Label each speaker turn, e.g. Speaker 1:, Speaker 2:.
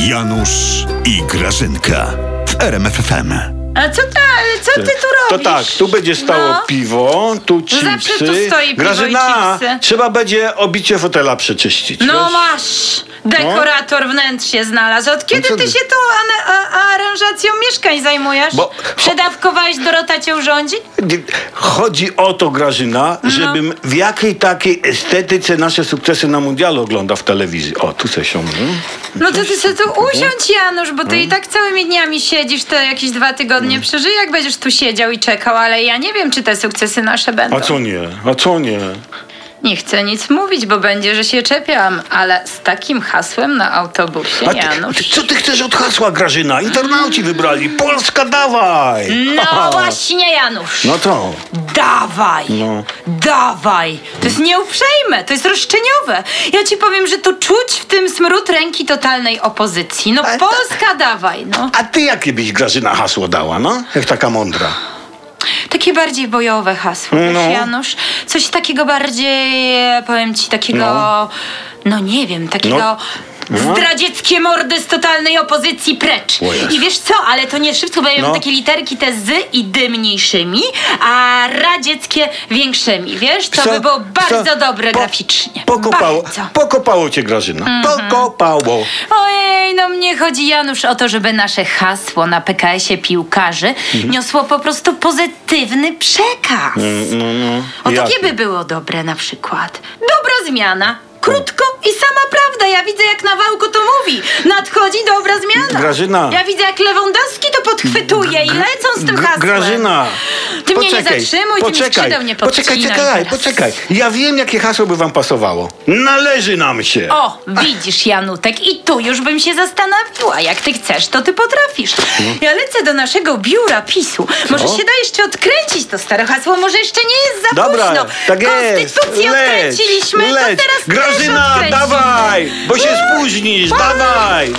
Speaker 1: Janusz i Grażynka w RMFFM.
Speaker 2: A co, ta, co ty tu
Speaker 3: To
Speaker 2: robisz?
Speaker 3: tak, tu będzie stało
Speaker 2: No.
Speaker 3: piwo, tu chipsy.
Speaker 2: zawsze tu stoi piwo i
Speaker 3: Grażyna,
Speaker 2: chipsy.
Speaker 3: trzeba będzie obicie fotela przeczyścić.
Speaker 2: No
Speaker 3: wiesz? No.
Speaker 2: masz! Dekorator wnętrz się znalazł. Od kiedy
Speaker 3: co
Speaker 2: ty
Speaker 3: ty?
Speaker 2: się tą ane- a- aranżacją mieszkań zajmujesz?
Speaker 3: Bo-
Speaker 2: Przedawkowałeś Dorota cię urządzi?
Speaker 3: Chodzi o to, Grażyna,
Speaker 2: No.
Speaker 3: żebym w jakiej takiej estetyce nasze sukcesy na mundialu oglądał w telewizji. O, tu se się mm.
Speaker 2: No to ty sobie tu usiądź Janusz, bo
Speaker 3: Hmm?
Speaker 2: ty i tak całymi dniami siedzisz, to jakieś dwa tygodnie przeżyj, jak będziesz tu siedział i czekał, ale ja nie wiem, czy te sukcesy nasze będą.
Speaker 3: A co nie? A co nie?
Speaker 2: Nie chcę nic mówić, bo będzie, że się czepiam, ale z takim hasłem na autobusie,
Speaker 3: A
Speaker 2: Janusz.
Speaker 3: ty, co ty chcesz od hasła, Grażyna? Internauci wybrali. Polska, dawaj!
Speaker 2: No właśnie, Janusz.
Speaker 3: No to.
Speaker 2: Dawaj!
Speaker 3: No.
Speaker 2: Dawaj! To jest nieuprzejme, to jest roszczeniowe. Ja ci powiem, że to czuć w tym smród ręki totalnej opozycji. No
Speaker 3: Ale ta-
Speaker 2: Polska dawaj, no.
Speaker 3: A ty jakie byś, Grażyna, hasło dała, no? Jak taka mądra.
Speaker 2: Takie bardziej bojowe hasło, wiesz,
Speaker 3: No.
Speaker 2: Janusz. Coś takiego bardziej, powiem ci, takiego... No,
Speaker 3: No.
Speaker 2: nie wiem, takiego...
Speaker 3: No.
Speaker 2: Zdradzieckie mordy z totalnej opozycji precz.
Speaker 3: O Jezu.
Speaker 2: I wiesz co, ale to nie szybko, bo ja mam
Speaker 3: No.
Speaker 2: takie literki te z i dy mniejszymi, a radzieckie większymi, wiesz? To
Speaker 3: Co-
Speaker 2: by było
Speaker 3: co-
Speaker 2: bardzo dobre
Speaker 3: po-
Speaker 2: graficznie.
Speaker 3: Pokopało,
Speaker 2: Bardzo. Mhm.
Speaker 3: pokopało cię, Grażyna. Pokopało.
Speaker 2: Ojej, no mnie chodzi, Janusz, o to, żeby nasze hasło na PKS-ie piłkarzy
Speaker 3: Mhm.
Speaker 2: niosło po prostu pozytywny przekaz.
Speaker 3: Mm,
Speaker 2: O
Speaker 3: No, Jak?
Speaker 2: takie by było dobre na przykład. Dobra zmiana. Krótko i sama prawda. Ja widzę, jak na wałku to mówi. Nadchodzi dobra zmiana.
Speaker 3: Grażyna.
Speaker 2: Ja widzę, jak Lewandowski to podchwytuje i lecą z tym
Speaker 3: Gr-
Speaker 2: hasłem.
Speaker 3: Grażyna.
Speaker 2: Ty mnie nie
Speaker 3: poczekaj,
Speaker 2: zatrzymuj, ty mi
Speaker 3: poczekaj,
Speaker 2: skrzydeł nie
Speaker 3: Poczekaj,
Speaker 2: podcinaj
Speaker 3: czekaj,
Speaker 2: teraz.
Speaker 3: poczekaj. Ja wiem, jakie hasło by wam pasowało. Należy nam się.
Speaker 2: O, widzisz, Janutek, i tu już bym się zastanawiała. Jak ty chcesz, to ty potrafisz.
Speaker 3: Mhm.
Speaker 2: Ja lecę do naszego biura PiSu. Może się da jeszcze odkręcić to stare hasło, może jeszcze nie jest za
Speaker 3: Dobra,
Speaker 2: późno.
Speaker 3: tak jest.
Speaker 2: Konstytucję
Speaker 3: Leć,
Speaker 2: odkręciliśmy,
Speaker 3: leć.
Speaker 2: to teraz też
Speaker 3: Grażyna,
Speaker 2: odkręcimy.
Speaker 3: dawaj, bo się spóźnisz, dawaj.